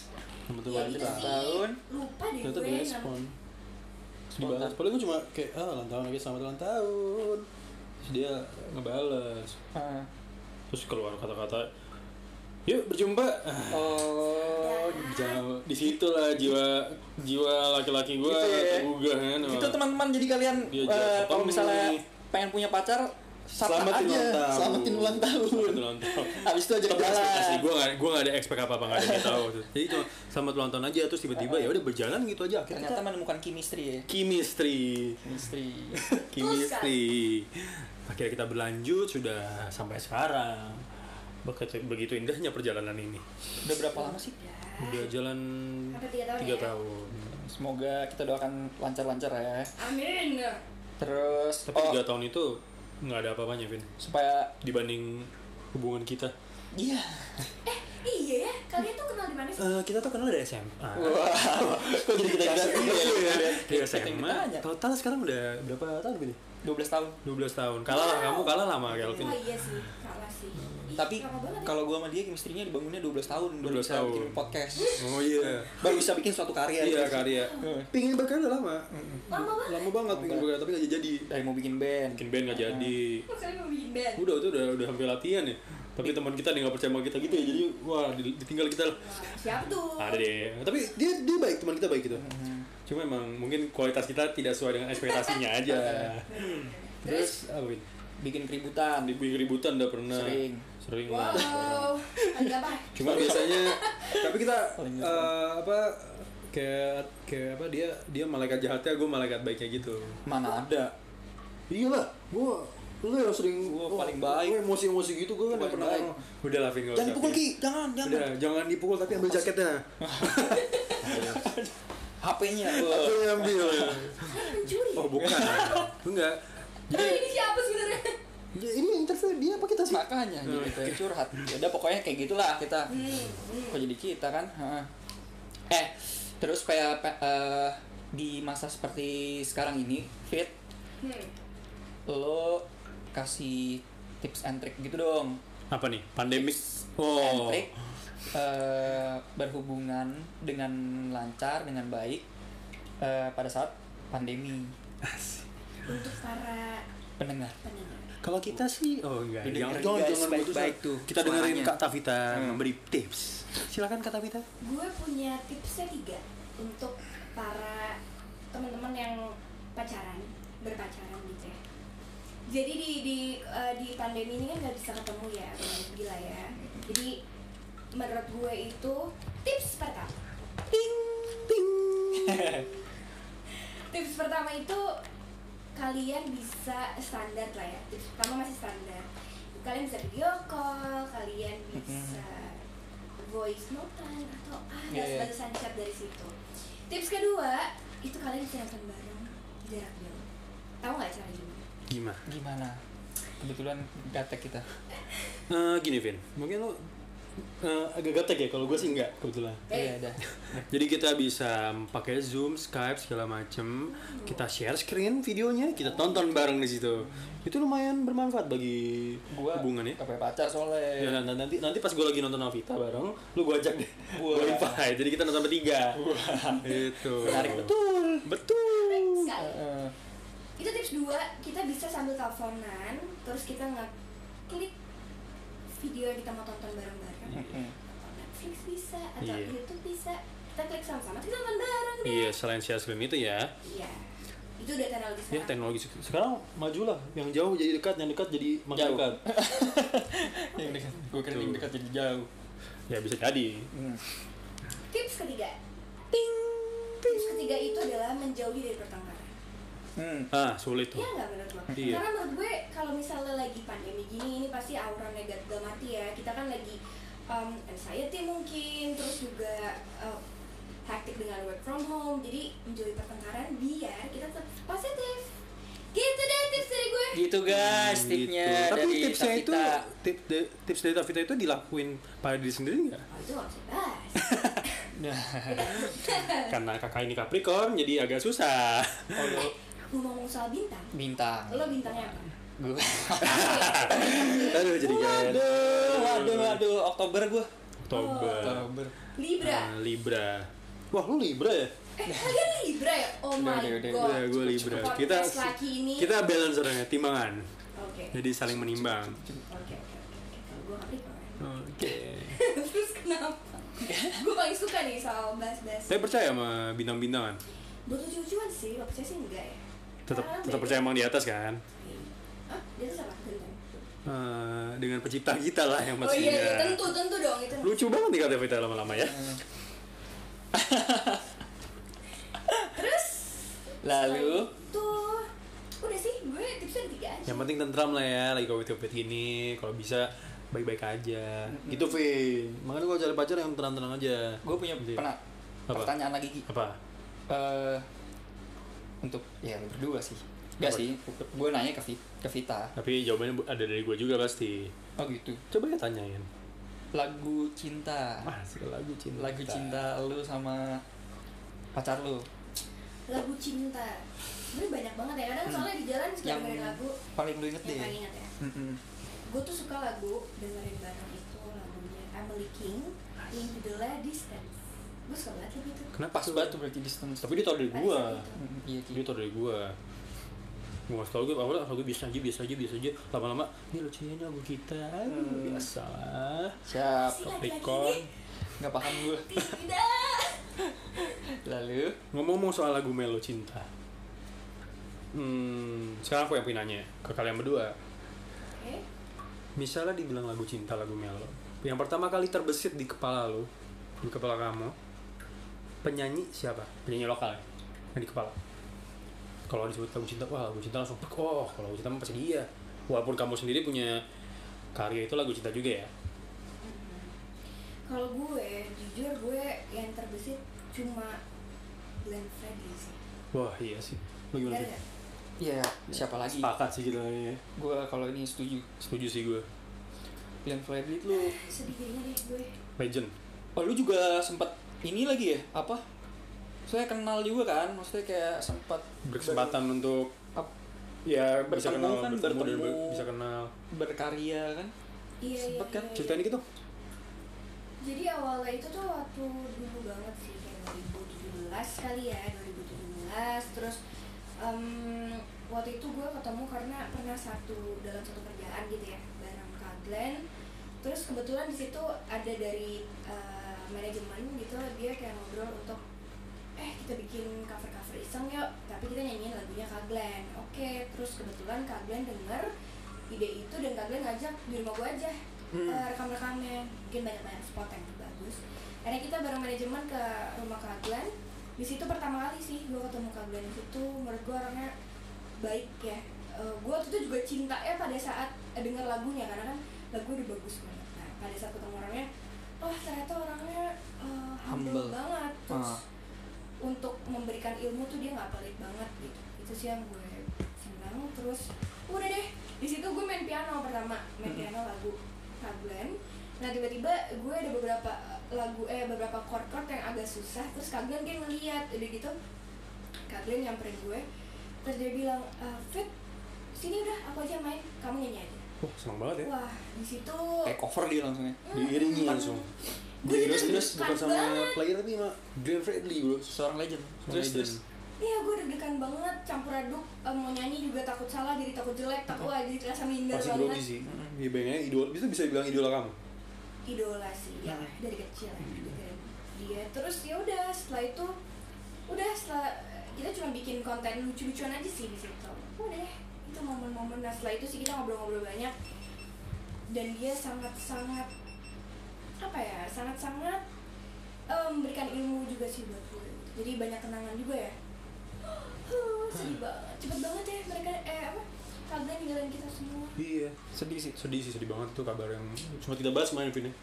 Speaker 4: Nyampetin
Speaker 3: Iya
Speaker 4: ulang
Speaker 1: ulang
Speaker 3: gitu
Speaker 4: tahun.
Speaker 3: sih
Speaker 1: tahun.
Speaker 3: lupa deh
Speaker 4: Ternyata
Speaker 3: gue
Speaker 4: dia
Speaker 3: nama-
Speaker 4: respon. Dibalas. Padahal gue cuma kayak ah ulang tahun lagi selamat ulang tahun.
Speaker 2: Terus dia ngebales.
Speaker 1: Ah.
Speaker 2: Terus keluar kata-kata Yuk berjumpa. Ah,
Speaker 1: oh
Speaker 2: Jangan di situ lah jiwa jiwa laki-laki gue
Speaker 1: Gitu ya.
Speaker 2: tergugah kan.
Speaker 1: itu teman-teman jadi kalian
Speaker 2: Dia
Speaker 1: eh,
Speaker 2: jahat
Speaker 1: kalau
Speaker 2: ketemu.
Speaker 1: misalnya pengen punya pacar
Speaker 4: Selamat
Speaker 1: Selamat
Speaker 4: ulang
Speaker 1: aja,
Speaker 4: tahun.
Speaker 1: selamatin ulang tahun.
Speaker 2: Selamat ulang tahun.
Speaker 1: Abis itu ajak
Speaker 2: Tapi ekspektasi
Speaker 1: jalan.
Speaker 2: gue gak, gue gak ada expect apa-apa, gak ada yang
Speaker 1: [laughs]
Speaker 2: tahu. Jadi cuma selamat ulang tahun aja, terus tiba-tiba ya udah berjalan gitu aja. Akhirnya
Speaker 1: Ternyata
Speaker 2: kita
Speaker 1: menemukan chemistry ya.
Speaker 2: chemistry.
Speaker 1: Chemistry.
Speaker 2: chemistry
Speaker 1: kan?
Speaker 2: akhirnya kita berlanjut sudah sampai sekarang begitu, begitu indahnya perjalanan ini
Speaker 1: Udah berapa lama sih?
Speaker 2: udah jalan
Speaker 3: Apa, tiga tahun
Speaker 2: tiga
Speaker 3: ya?
Speaker 2: tahun
Speaker 1: Semoga kita doakan lancar-lancar ya.
Speaker 3: Amin.
Speaker 1: Terus
Speaker 2: tapi
Speaker 1: oh,
Speaker 2: tiga tahun itu nggak ada apa-apanya Vin
Speaker 1: supaya
Speaker 2: dibanding hubungan kita
Speaker 1: iya.
Speaker 3: Iya ya, kalian tuh kenal di mana sih?
Speaker 2: Eh, kita tuh kenal dari SMA
Speaker 1: Ah. Wow. Kok jadi kita kita Iya,
Speaker 2: dari
Speaker 1: Kita yang
Speaker 2: SMA
Speaker 1: ditanya.
Speaker 2: total sekarang udah berapa tahun Vin
Speaker 1: 12 tahun.
Speaker 2: 12 tahun kalah lah kamu kalah lama Kelvin
Speaker 3: Wah iya sih, kalah sih. Ih,
Speaker 1: Tapi
Speaker 3: lama banget ya.
Speaker 1: kalau gua sama dia chemistry-nya dibangunnya 12 tahun baru
Speaker 2: 12
Speaker 1: bisa
Speaker 2: tahun.
Speaker 1: bikin podcast.
Speaker 2: oh iya
Speaker 1: Baru bisa bikin suatu karya. kan?
Speaker 2: iya karya pingin berkarya udah lama
Speaker 3: lama banget.
Speaker 2: lama banget pingin berkarya tapi nggak jadi
Speaker 1: Dari mau bikin band.
Speaker 2: bikin band nggak jadi
Speaker 3: Kok kalian mau bikin band?
Speaker 2: udah itu udah udah hampir latihan ya tapi teman kita dia nggak percaya sama kita gitu ya jadi wah di- ditinggal kita lah
Speaker 3: Wah, Siapa tuh?
Speaker 2: ada deh tapi dia dia baik teman kita baik gitu
Speaker 1: Mm-hmm.
Speaker 2: cuma emang mungkin kualitas kita tidak sesuai dengan
Speaker 1: [laughs]
Speaker 2: ekspektasinya aja terus apa Win?
Speaker 1: Hmm. Bikin keributan.
Speaker 2: di bikin ributan udah pernah
Speaker 1: Sering.
Speaker 2: sering lah
Speaker 3: Wow. Ada apa?
Speaker 2: cuma biasanya tapi kita
Speaker 1: [laughs] Paling
Speaker 2: eh, apa kayak kayak apa dia dia malaikat jahatnya gue malaikat baiknya gitu
Speaker 1: Mana ada?
Speaker 4: Iya lah, gue lu yang sering
Speaker 1: Gua
Speaker 4: oh,
Speaker 1: paling
Speaker 4: gua
Speaker 1: baik.
Speaker 4: emosi-emosi gitu gue kan
Speaker 1: Gua
Speaker 4: nggak pernah
Speaker 1: paling
Speaker 2: udah lah Vin nggak
Speaker 1: Jangan
Speaker 2: usah,
Speaker 1: pukul
Speaker 2: Vin.
Speaker 1: Ki, jangan, jangan.
Speaker 2: udah jangan dipukul tapi ambil
Speaker 4: [laughs]
Speaker 2: jaketnya [laughs]
Speaker 1: HP-nya.
Speaker 4: Aku yang ambil ya.
Speaker 3: Kalian mencuri.
Speaker 2: oh bukan [laughs] enggak
Speaker 3: Nah, ini siapa sebenarnya?
Speaker 4: Ya, Ini yang interview dia apa kita sih?
Speaker 1: makanya jadi kayak curhat ya udah pokoknya kayak gitulah kita
Speaker 3: Hmm,
Speaker 1: kok jadi kita kan Heeh. eh terus kayak pe- eh, di masa seperti sekarang ini fit
Speaker 3: Hmm.
Speaker 1: lo kasih tips and trick gitu dong
Speaker 2: apa nih pandemik
Speaker 1: and
Speaker 2: oh
Speaker 1: trick eh, berhubungan dengan lancar dengan baik eh, pada saat pandemi
Speaker 3: Untuk para
Speaker 1: pendengar
Speaker 3: pendengar.
Speaker 2: [laughs] kalau kita sih oh enggak
Speaker 1: Lu dengerin,
Speaker 2: jangan jangan,
Speaker 1: guys,
Speaker 2: jangan
Speaker 1: baik-baik
Speaker 2: baik
Speaker 1: tuh
Speaker 2: kita dengerin
Speaker 1: suaranya.
Speaker 2: kak Tavita
Speaker 1: Hmm.
Speaker 2: memberi tips silakan kak Tavita
Speaker 3: Gue punya tipsnya tiga untuk para teman-teman yang pacaran, berpacaran gitu ya. Jadi di di eh, di pandemi ini kan nggak bisa ketemu ya, bener, gila ya. Jadi menurut gue itu tips pertama. Ting ting. tips pertama itu kalian bisa standar lah ya. Tips pertama masih standar. Kalian bisa video call, kalian
Speaker 1: Mhm.
Speaker 3: bisa voice notean atau ada
Speaker 1: Iya, iya.
Speaker 3: batasan chat dari situ. Tips kedua itu kalian bisa nonton bareng jarak jauh. Tahu nggak cara gimana?
Speaker 2: gimana
Speaker 1: [laughs] gimana kebetulan gatek kita
Speaker 2: Eh, gini Vin mungkin lo eh, agak gatek ya kalau gue sih enggak kebetulan
Speaker 1: iya
Speaker 3: Eh,
Speaker 1: ada
Speaker 2: jadi kita bisa pakai Zoom, Skype segala macem. Kita share screen videonya, kita tonton bareng di situ. Itu lumayan bermanfaat bagi
Speaker 1: gua
Speaker 2: hubungan ya.
Speaker 1: gak punya pacar soalnya
Speaker 2: Ya, nanti, nanti nanti pas gue lagi nonton Novita bareng, lu gue ajak deh.
Speaker 1: Wah.
Speaker 2: Gue invite. Jadi kita nonton bertiga. Itu.
Speaker 1: Menarik betul. Eh.
Speaker 2: Betul.
Speaker 3: Sekali.
Speaker 1: Heeh.
Speaker 3: itu tips dua kita bisa sambil teleponan terus kita ngeklik video yang kita mau tonton bareng-bareng
Speaker 1: Mm-mm.
Speaker 3: Atau Netflix bisa atau
Speaker 2: Iya.
Speaker 3: YouTube bisa kita klik sama-sama kita tonton bareng deh
Speaker 2: Iya, selain share screen itu ya.
Speaker 3: iya itu udah teknologi
Speaker 2: Ya
Speaker 3: sekarang
Speaker 2: teknologi sek- sekarang majulah. Yang jauh jadi dekat, yang dekat jadi makin
Speaker 1: Jauh.
Speaker 2: dekat.
Speaker 1: Yang dekat. Gue kira
Speaker 2: Tuh.
Speaker 1: yang dekat jadi jauh.
Speaker 2: Ya bisa jadi.
Speaker 1: Hmm.
Speaker 3: tips ketiga ting tips ketiga itu adalah menjauhi dari pertengkaran
Speaker 1: Hmm.
Speaker 2: Ah, sulit tuh.
Speaker 3: Iya nggak menurut lo?
Speaker 2: Iya.
Speaker 3: Karena menurut gue kalau misalnya lagi pandemi gini ini pasti aura negatif gak mati ya. Kita kan lagi um, anxiety mungkin, terus juga uh, hektik dengan work from home. Jadi menjauhi pertengkaran biar kita tetap positif. Gitu deh tips dari gue.
Speaker 1: Gitu guys,
Speaker 2: Hmm,
Speaker 1: tipsnya
Speaker 2: gitu. Tapi
Speaker 1: dari
Speaker 2: tipsnya itu
Speaker 1: Tavita.
Speaker 2: tip, de- tips dari Tavita itu dilakuin pada diri sendiri nggak?
Speaker 3: Oh, itu nggak bisa dibahas.
Speaker 1: Nah,
Speaker 2: Karena kakak ini Capricorn jadi agak [laughs] susah.
Speaker 1: [laughs] oh,
Speaker 3: Ngomong-ngomong soal bintang,
Speaker 1: bintang.
Speaker 3: lo bintangnya
Speaker 2: [laughs]
Speaker 3: apa?
Speaker 1: Gue.
Speaker 2: Aduh jadi kan.
Speaker 1: waduh, waduh, waduh. Oktober gue.
Speaker 2: Oktober.
Speaker 1: Oktober.
Speaker 3: Libra.
Speaker 2: Ah, Libra.
Speaker 4: Wah lu Libra ya?
Speaker 3: Eh, kalian Libra ya? Oh
Speaker 1: Udah,
Speaker 3: my
Speaker 1: udah, udah,
Speaker 3: god.
Speaker 2: Udah gue Libra.
Speaker 3: Podcast
Speaker 2: Kita
Speaker 3: laki ini.
Speaker 2: kita balance orangnya timbangan.
Speaker 3: Oke.
Speaker 2: Jadi saling menimbang.
Speaker 3: Oke, oke, oke. oke. Kalau gue Capricorn.
Speaker 2: Oke.
Speaker 3: [laughs]
Speaker 2: [laughs]
Speaker 3: Terus kenapa? gue paling suka nih soal bahas-bahas
Speaker 2: Tapi percaya sama bintang-bintangan.
Speaker 3: Buat lucu-lucuan sih, kalau percaya sih enggak ya
Speaker 2: Tetap
Speaker 3: Karena
Speaker 2: tetap
Speaker 3: beda.
Speaker 2: percaya emang di atas kan.
Speaker 3: ah dia siapa genteng
Speaker 2: Eh, dengan pencipta kita lah yang
Speaker 3: oh iya,
Speaker 2: pastinya.
Speaker 3: iya tentu tentu dong itu
Speaker 2: Lucu banget nih kata kita lama-lama ya.
Speaker 1: Hmm.
Speaker 3: terus
Speaker 1: Lalu
Speaker 3: itu udah sih gue tipsnya tiga aja
Speaker 2: Yang penting tentram lah ya, lagi covid-covid gini, kalau bisa baik-baik aja. Gitu, Vin. Makanya kalau cari pacar yang tenang-tenang aja.
Speaker 1: gue punya
Speaker 2: Gitu ya.
Speaker 1: pernah
Speaker 2: Apa?
Speaker 1: pertanyaan lagi Ki.
Speaker 2: Apa?
Speaker 1: Eh, untuk ya lu berdua sih. Gak
Speaker 2: Apa?
Speaker 1: sih, gue nanya ke, Vi- ke Vita.
Speaker 2: Tapi jawabannya bu- ada dari gue juga pasti.
Speaker 1: Oh gitu.
Speaker 2: Coba ya tanyain.
Speaker 1: Lagu cinta.
Speaker 2: Masih lagu cinta.
Speaker 1: Lagu cinta lu sama pacar lu.
Speaker 3: lagu cinta gue banyak banget ya kadang soalnya di jalan suka
Speaker 1: Yang
Speaker 3: dengerin lagu
Speaker 1: paling lu inget
Speaker 3: yang
Speaker 1: deh.
Speaker 3: paling ingat ya
Speaker 1: Mm-mm.
Speaker 3: gue tuh suka lagu dengerin bareng itu lagunya Emily King yang judulnya Distance gue suka banget lagu itu
Speaker 2: Kenapa
Speaker 1: Pas banget tuh berarti distance.
Speaker 2: Tapi dia tau dari
Speaker 3: Pada
Speaker 2: gue.
Speaker 3: saat itu.
Speaker 1: Mm-mm, Iya Ki.
Speaker 2: Dia tau dari gue. Gue ngasih tau gue, awalnya lagu biasa aja, biasa aja, biasa aja. Lama-lama, ini lucunya lagu kita. Aduh,
Speaker 1: Hmm.
Speaker 2: biasa lah.
Speaker 1: Siap.
Speaker 3: Si laki-laki
Speaker 2: Capricorn.
Speaker 1: Gak paham gue.
Speaker 3: ini [laughs] tidak
Speaker 1: Lalu
Speaker 2: Ngomong-ngomong soal lagu Melo Cinta. Hmm, sekarang aku yang pengen nanya ke kalian berdua.
Speaker 3: oke
Speaker 2: Misalnya dibilang lagu cinta, lagu Melo. Yang pertama kali terbesit di kepala lo, di kepala kamu, penyanyi siapa? Penyanyi lokal ya? Yang di kepala. Kalau disebut lagu cinta, wah lagu cinta langsung, "Pek, oh kalau lagu cinta mah pasti dia. Walaupun kamu sendiri punya karya itu lagu cinta juga ya.
Speaker 3: kalau gue jujur gue yang terbesit cuma Glenn Fredly sih
Speaker 2: Wah iya sih.
Speaker 4: Lu gimana
Speaker 3: Bener
Speaker 4: sih?
Speaker 3: nggak?
Speaker 1: ya siapa lagi?
Speaker 4: Sepakat sih kita ini.
Speaker 1: Gue kalau ini setuju.
Speaker 2: Setuju sih gue.
Speaker 1: Glenn Fredly lu.
Speaker 3: sedih kayaknya deh gue
Speaker 2: Legend.
Speaker 1: Oh lu juga sempat ini lagi ya? Apa? Saya kenal juga kan, maksudnya kayak sempat
Speaker 2: Berkesempatan untuk
Speaker 1: Ap-
Speaker 2: ya
Speaker 1: Bertemu
Speaker 2: bisa kenal
Speaker 1: kan,
Speaker 2: bertemu dan
Speaker 1: bertemu.
Speaker 2: ber- bisa kenal
Speaker 1: berkarya kan?
Speaker 3: iya iya,
Speaker 1: Sempet kan?
Speaker 3: iya, iya.
Speaker 2: ceritain dikit dong
Speaker 3: Jadi awalnya itu tuh waktu dulu banget sih kayak 2017 kali ya 2017 terus em, waktu itu gue ketemu karena pernah satu dalam satu kerjaan gitu ya bareng Kak Glenn terus kebetulan di situ ada dari eh, manajemen gitu dia kayak ngobrol untuk eh kita bikin cover cover iseng yuk tapi kita nyanyiin lagunya Kak Glenn oke terus kebetulan Kak Glenn denger ide itu dan Kak Glenn ngajak di rumah gue aja
Speaker 1: Hmm.
Speaker 3: eh, rekam-rekamnya mungkin banyak-banyak spot yang bagus akhirnya kita bareng manajemen ke rumah Kak Glenn di situ pertama kali sih gue ketemu Kak Glenn itu menurut gue orangnya baik ya Eh, gue waktu itu juga cinta ya pada saat eh, dengar lagunya karena kan lagu udah bagus banget nah pada saat ketemu orangnya oh ternyata orangnya eh, humble,
Speaker 1: Humble.
Speaker 3: banget terus
Speaker 1: Ah.
Speaker 3: untuk memberikan ilmu tuh dia nggak pelit banget gitu itu sih yang gue senang terus udah deh di situ gue main piano pertama main piano lagu Kak Glenn nah tiba-tiba gue ada beberapa lagu eh beberapa chord-chord yang agak susah terus Kak Glenn kayak ngeliat udah gitu Kak Glenn nyamperin gue terus dia bilang "Eh, Fit sini udah aku aja yang main kamu nyanyi aja
Speaker 2: wah senang banget ya
Speaker 3: wah di situ Hmm.
Speaker 1: Kayak cover dia langsungnya.
Speaker 4: Eh. Diiringi langsung.
Speaker 3: Gue jadi
Speaker 4: Terus terus
Speaker 3: deg-degan
Speaker 4: bukan sama
Speaker 3: banget.
Speaker 4: player tapi sama Glenn Fredly bro.
Speaker 1: Seorang legend.
Speaker 4: Seorang
Speaker 1: Terus
Speaker 4: legend.
Speaker 1: terus
Speaker 3: Iya gue deg-degan banget campur aduk eh, mau nyanyi juga takut salah jadi takut jelek takut wah jadi terasa minder
Speaker 4: Pasti
Speaker 3: banget
Speaker 4: grogi sih.
Speaker 1: Mm-mm.
Speaker 2: Iya bayangnya idola, bisa bisa dibilang idola kamu.
Speaker 3: idola sih ya
Speaker 2: Nah.
Speaker 1: Hmm.
Speaker 3: dari kecil ya didengerin dia terus ya udah setelah itu udah setelah kita cuma bikin konten lucu-lucuan aja sih di situ udah itu momen-momen nah setelah itu sih kita ngobrol-ngobrol banyak dan dia sangat-sangat apa ya sangat-sangat eh, memberikan ilmu juga sih buat gue jadi banyak kenangan juga ya
Speaker 2: Hmm.
Speaker 3: Huh, sedih banget cepet banget ya mereka eh apa kalian ninggalin kita semua
Speaker 2: Iya.
Speaker 1: sedih sih.
Speaker 2: Sedih sih, sedih banget tuh kabar yang cuma kita bahas kemarin Vin. ya.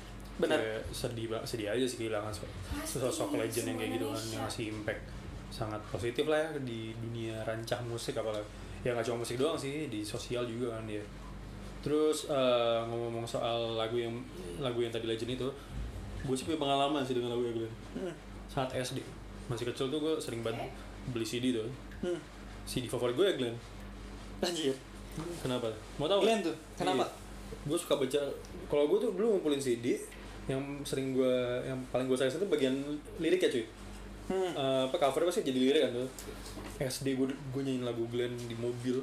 Speaker 1: Benar.
Speaker 2: Kayak sedih banget, sedih aja sih kehilangan se-
Speaker 3: Pasti,
Speaker 2: sesosok legend yang kayak gitu kan
Speaker 3: semua
Speaker 2: yang
Speaker 3: Iya, Indonesia.
Speaker 2: ngasih impact sangat positif lah ya di dunia rancah musik apalagi. Ya nggak cuma musik doang sih, di sosial juga kan dia. Terus eh, ngomong-ngomong soal lagu yang lagu yang tadi legend itu, gue sih punya pengalaman sih dengan lagu yang Glenn.
Speaker 1: Hmm.
Speaker 2: Saat SD, masih kecil tuh gue sering
Speaker 3: Eh?
Speaker 2: banget beli CD tuh.
Speaker 1: Hmm.
Speaker 2: CD favorit gue ya Glenn.
Speaker 1: Anjir.
Speaker 2: Kenapa? Mau tahu?
Speaker 1: Glenn tuh, kenapa?
Speaker 2: Gue suka baca. Kalau gue tuh dulu ngumpulin CD yang sering gue yang paling gue sayang itu bagian lirik ya cuy.
Speaker 1: Hmm.
Speaker 2: Eh, apa covernya pasti jadi lirik kan tuh. SD gue gue nyanyiin lagu Glenn di mobil.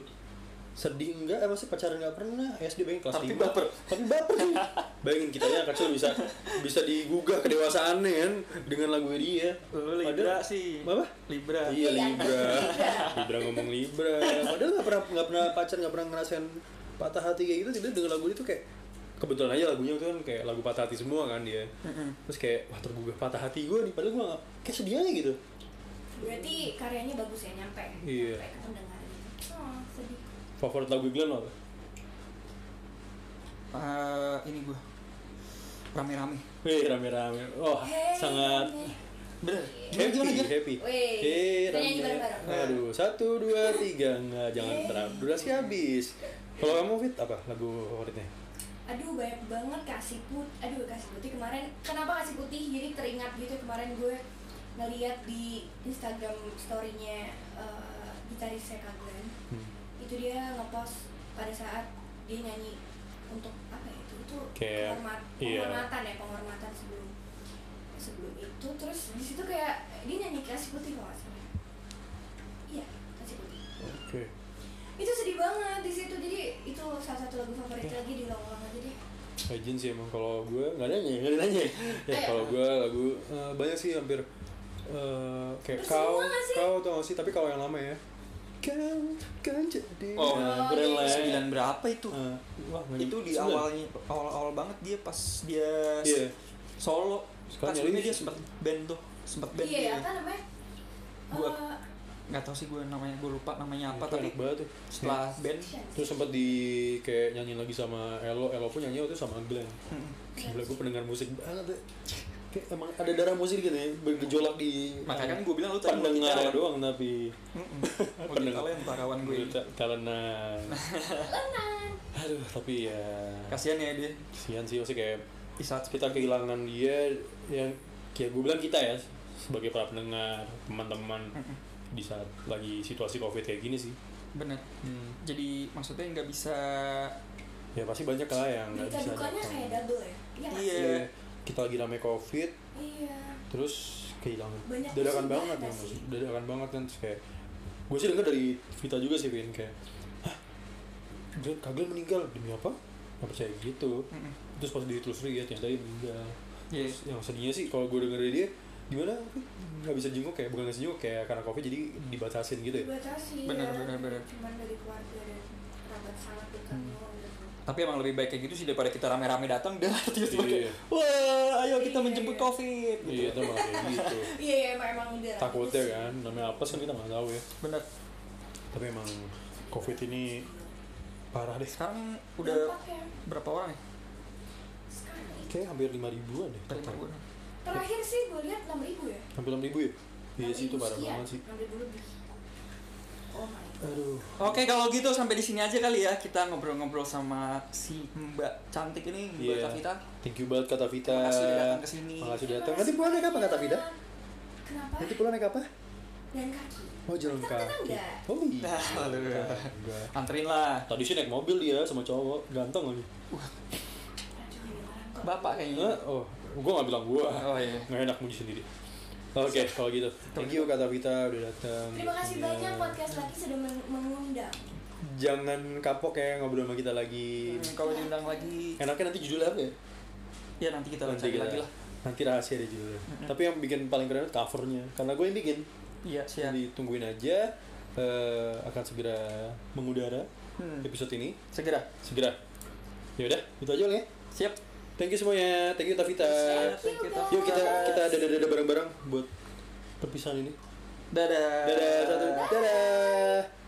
Speaker 2: sedih enggak eh masih pacaran nggak pernah SD pengen kelas
Speaker 5: Tapi
Speaker 2: lima.
Speaker 5: baper.
Speaker 2: tapi baper sih bayangin kitanya kacau bisa bisa digugah kedewasaannya kan dengan lagu dia
Speaker 5: Lu Libra sih.
Speaker 2: apa
Speaker 5: Libra.
Speaker 2: iya
Speaker 3: [laughs]
Speaker 2: libra libra ngomong libra padahal nggak pernah nggak pernah pacar nggak pernah ngerasain patah hati kayak gitu tidak dengan lagu itu kayak kebetulan aja lagunya itu kan kayak lagu patah hati semua kan dia
Speaker 1: Hmm.
Speaker 2: terus kayak wah tergugah patah hati gue nih padahal gue nggak kayak sedih aja gitu
Speaker 3: Berarti karyanya bagus ya nyampe.
Speaker 2: Iya.
Speaker 3: Nyampe ke pendengar. Oh, sedih.
Speaker 2: favorit lagu Glenn apa
Speaker 1: Eh, ini gue rame-rame
Speaker 2: Wih rame-rame, oh
Speaker 3: Hey,
Speaker 2: sangat
Speaker 3: Mami.
Speaker 1: bener
Speaker 3: Iya.
Speaker 2: happy, happy.
Speaker 3: Wih,
Speaker 2: Hey,
Speaker 3: kita nyanyi
Speaker 2: rame.
Speaker 3: bareng-bareng.
Speaker 2: Aduh, satu, dua, tiga, nggak jangan terlalu durasi habis. Kalau kamu fit apa lagu favoritnya?
Speaker 3: Aduh banyak banget kasih put, aduh kasih putih kemarin. Kenapa kasih putih? Jadi teringat gitu kemarin gue ngeliat di Instagram story-nya eh, gitaris Seka Glenn.
Speaker 2: Hmm.
Speaker 3: Itu dia ngepost pada saat dia nyanyi untuk apa ya itu itu
Speaker 2: Kayak,
Speaker 3: penghormat-
Speaker 2: iya.
Speaker 3: penghormatan ya penghormatan sebelum sebelum itu terus di situ kayak dia nyanyi kasih putih kalau nggak salah. Iya kasih putih
Speaker 2: Oke.
Speaker 3: itu sedih banget di situ jadi itu salah satu lagu favorit
Speaker 2: Iya.
Speaker 3: lagi di lowongan lagi deh
Speaker 2: Legend sih emang kalau gue nggak nanya, nggak ada nanya. Ya
Speaker 3: eh.
Speaker 2: kalau gue lagu eh, banyak sih hampir eh, kayak
Speaker 3: Terus
Speaker 2: kau,
Speaker 3: semua nggak sih?
Speaker 2: kau tau gak sih? Tapi kalau yang lama ya. Kan, kan jadi.
Speaker 1: Oh,
Speaker 2: Nah,
Speaker 3: iya,
Speaker 2: keren
Speaker 3: iya.
Speaker 2: lah.
Speaker 1: sembilan berapa itu
Speaker 2: Eh, wah, nggak-
Speaker 1: itu di
Speaker 2: sembilan.
Speaker 1: awalnya awal awal banget dia pas dia
Speaker 2: Iya.
Speaker 1: solo
Speaker 2: Sekarang
Speaker 1: kan sebelumnya
Speaker 2: jadi-
Speaker 1: dia sempat band tuh sempat band
Speaker 3: iya
Speaker 1: dia
Speaker 3: apa namanya
Speaker 1: Gua-
Speaker 3: Eh,
Speaker 1: nggak tahu sih gue namanya gue lupa namanya apa
Speaker 2: Itu
Speaker 1: tapi
Speaker 2: enak banget tuh.
Speaker 1: setelah band
Speaker 3: Shanks.
Speaker 2: Terus sempat di kayak nyanyi lagi sama Elo, Elo pun nyanyi waktu itu sama Glenn.
Speaker 1: hmm.
Speaker 3: Iya
Speaker 2: Gila gue pendengar musik banget ya. Kayak emang ada darah musik gitu ya, bergejolak di
Speaker 1: Makanya kan gua bilang lu tadi
Speaker 2: Iya. pendengar
Speaker 1: multi talent.
Speaker 2: doang tapi
Speaker 1: [laughs] multi talent parawan gue ini.
Speaker 2: karena
Speaker 3: lenang
Speaker 2: aduh tapi ya
Speaker 1: kasihan ya dia
Speaker 2: kasihan sih maksudnya kayak
Speaker 1: Isat
Speaker 2: kita kehilangan dia yang kayak gue bilang kita ya sebagai para pendengar teman-teman di saat lagi situasi covid kayak gini sih
Speaker 1: bener Hmm. jadi maksudnya nggak bisa
Speaker 2: ya pasti banyak lah yang nggak
Speaker 3: berita
Speaker 2: bisa
Speaker 3: dukanya
Speaker 2: datang.
Speaker 3: kayak double ya iya nggak
Speaker 1: Iya.
Speaker 3: sih?
Speaker 2: Iya, kita lagi rame covid
Speaker 3: iya
Speaker 2: terus kehilangan
Speaker 3: Banyak
Speaker 2: dadakan
Speaker 3: kesulitan
Speaker 2: banget ya
Speaker 3: gak sih?
Speaker 2: maksudnya dadakan banget kan terus kayak gue sih denger dari Vita juga sih Vin kayak "Hah? Glenn- Kak Glenn meninggal demi apa nggak percaya gitu
Speaker 1: Mm-mm.
Speaker 2: terus pas ditelusuri ya ternyata dia meninggal
Speaker 1: Iya.
Speaker 2: terus yang sedihnya sih kalau gue denger dari dia gimana nggak bisa jenguk kayak bukan nggak bisa jenguk kayak karena covid jadi dibatasin gitu ya
Speaker 3: dibatasi
Speaker 1: Bener,
Speaker 3: ya.
Speaker 1: bener, bener.
Speaker 3: cuman dari keluarga dan kerabat sangat dekat
Speaker 2: Hmm.
Speaker 3: doang gitu.
Speaker 1: tapi emang lebih baik kayak gitu sih daripada kita rame-rame datang dan [laughs] tiba-tiba
Speaker 2: Iya.
Speaker 1: kayak wah ayo kita
Speaker 3: Iya.
Speaker 1: menjemput covid
Speaker 2: iya itu malah kayak gitu
Speaker 3: iya iya emang emang udah
Speaker 2: takutnya kan namanya apa sih kita nggak tahu ya
Speaker 1: bener
Speaker 2: tapi emang covid ini parah deh
Speaker 1: sekarang
Speaker 3: udah
Speaker 1: udah berapa orang ya
Speaker 3: sekarang itu.
Speaker 2: kayak hampir lima ribuan deh
Speaker 1: Tadi
Speaker 2: total.
Speaker 1: gue
Speaker 3: terakhir sih gue lihat enam ribu ya
Speaker 2: hampir enam ribu ya iya sih itu parah banget sih
Speaker 3: enam ribu lebih oh my god
Speaker 2: aduh
Speaker 1: Oke kalau gitu sampai di sini aja kali ya kita ngobrol-ngobrol sama si Mbak cantik ini Mbak
Speaker 2: Iya.
Speaker 1: Kavita.
Speaker 2: thank you banget kata Vita
Speaker 1: Makasih udah datang ke sini.
Speaker 2: makasih udah datang nanti pulang naik apa kata Vita
Speaker 3: kenapa
Speaker 2: nanti pulang naik apa
Speaker 3: dan kaki
Speaker 2: mau Oh, jalan
Speaker 3: Kita kan
Speaker 2: kaki
Speaker 3: enggak.
Speaker 2: oh iya
Speaker 1: Lalu
Speaker 2: Enggak.
Speaker 1: anterin lah
Speaker 2: tadi sih naik mobil dia sama cowok ganteng lagi
Speaker 3: Aduh, ini orang kok.
Speaker 1: Bapak
Speaker 2: Hah?
Speaker 1: kayaknya.
Speaker 2: oh gua nggak bilang gua
Speaker 1: Oh iya.
Speaker 2: nggak enak muji sendiri oke kalau gitu thank you kata Vita udah datang
Speaker 3: Terima kasih
Speaker 2: Iya.
Speaker 3: banyak podcast lagi sudah men- mengundang.
Speaker 2: jangan kapok ya ngobrol sama kita lagi
Speaker 1: Hmm, Kalau diundang lagi
Speaker 2: enaknya nanti judulnya apa ya
Speaker 1: ya nanti kita
Speaker 2: nanti
Speaker 1: cari
Speaker 2: kita-
Speaker 1: lagi lah.
Speaker 2: nanti rahasia deh judulnya
Speaker 3: Hmm.
Speaker 2: tapi yang bikin paling keren itu covernya karena gue yang bikin
Speaker 1: Iya siap.
Speaker 2: Jadi tungguin aja eh, akan segera mengudara
Speaker 1: Hmm.
Speaker 2: episode ini
Speaker 1: Segera.
Speaker 2: segera. Ya udah, itu aja kali ya.
Speaker 1: Siap.
Speaker 2: Thank you semuanya. Thank you Tavita.
Speaker 1: Thank you,
Speaker 3: guys.
Speaker 2: Yuk kita kita dada-dada bareng-bareng buat perpisahan ini.
Speaker 1: Dadah.
Speaker 2: Dadah satu. Dadah.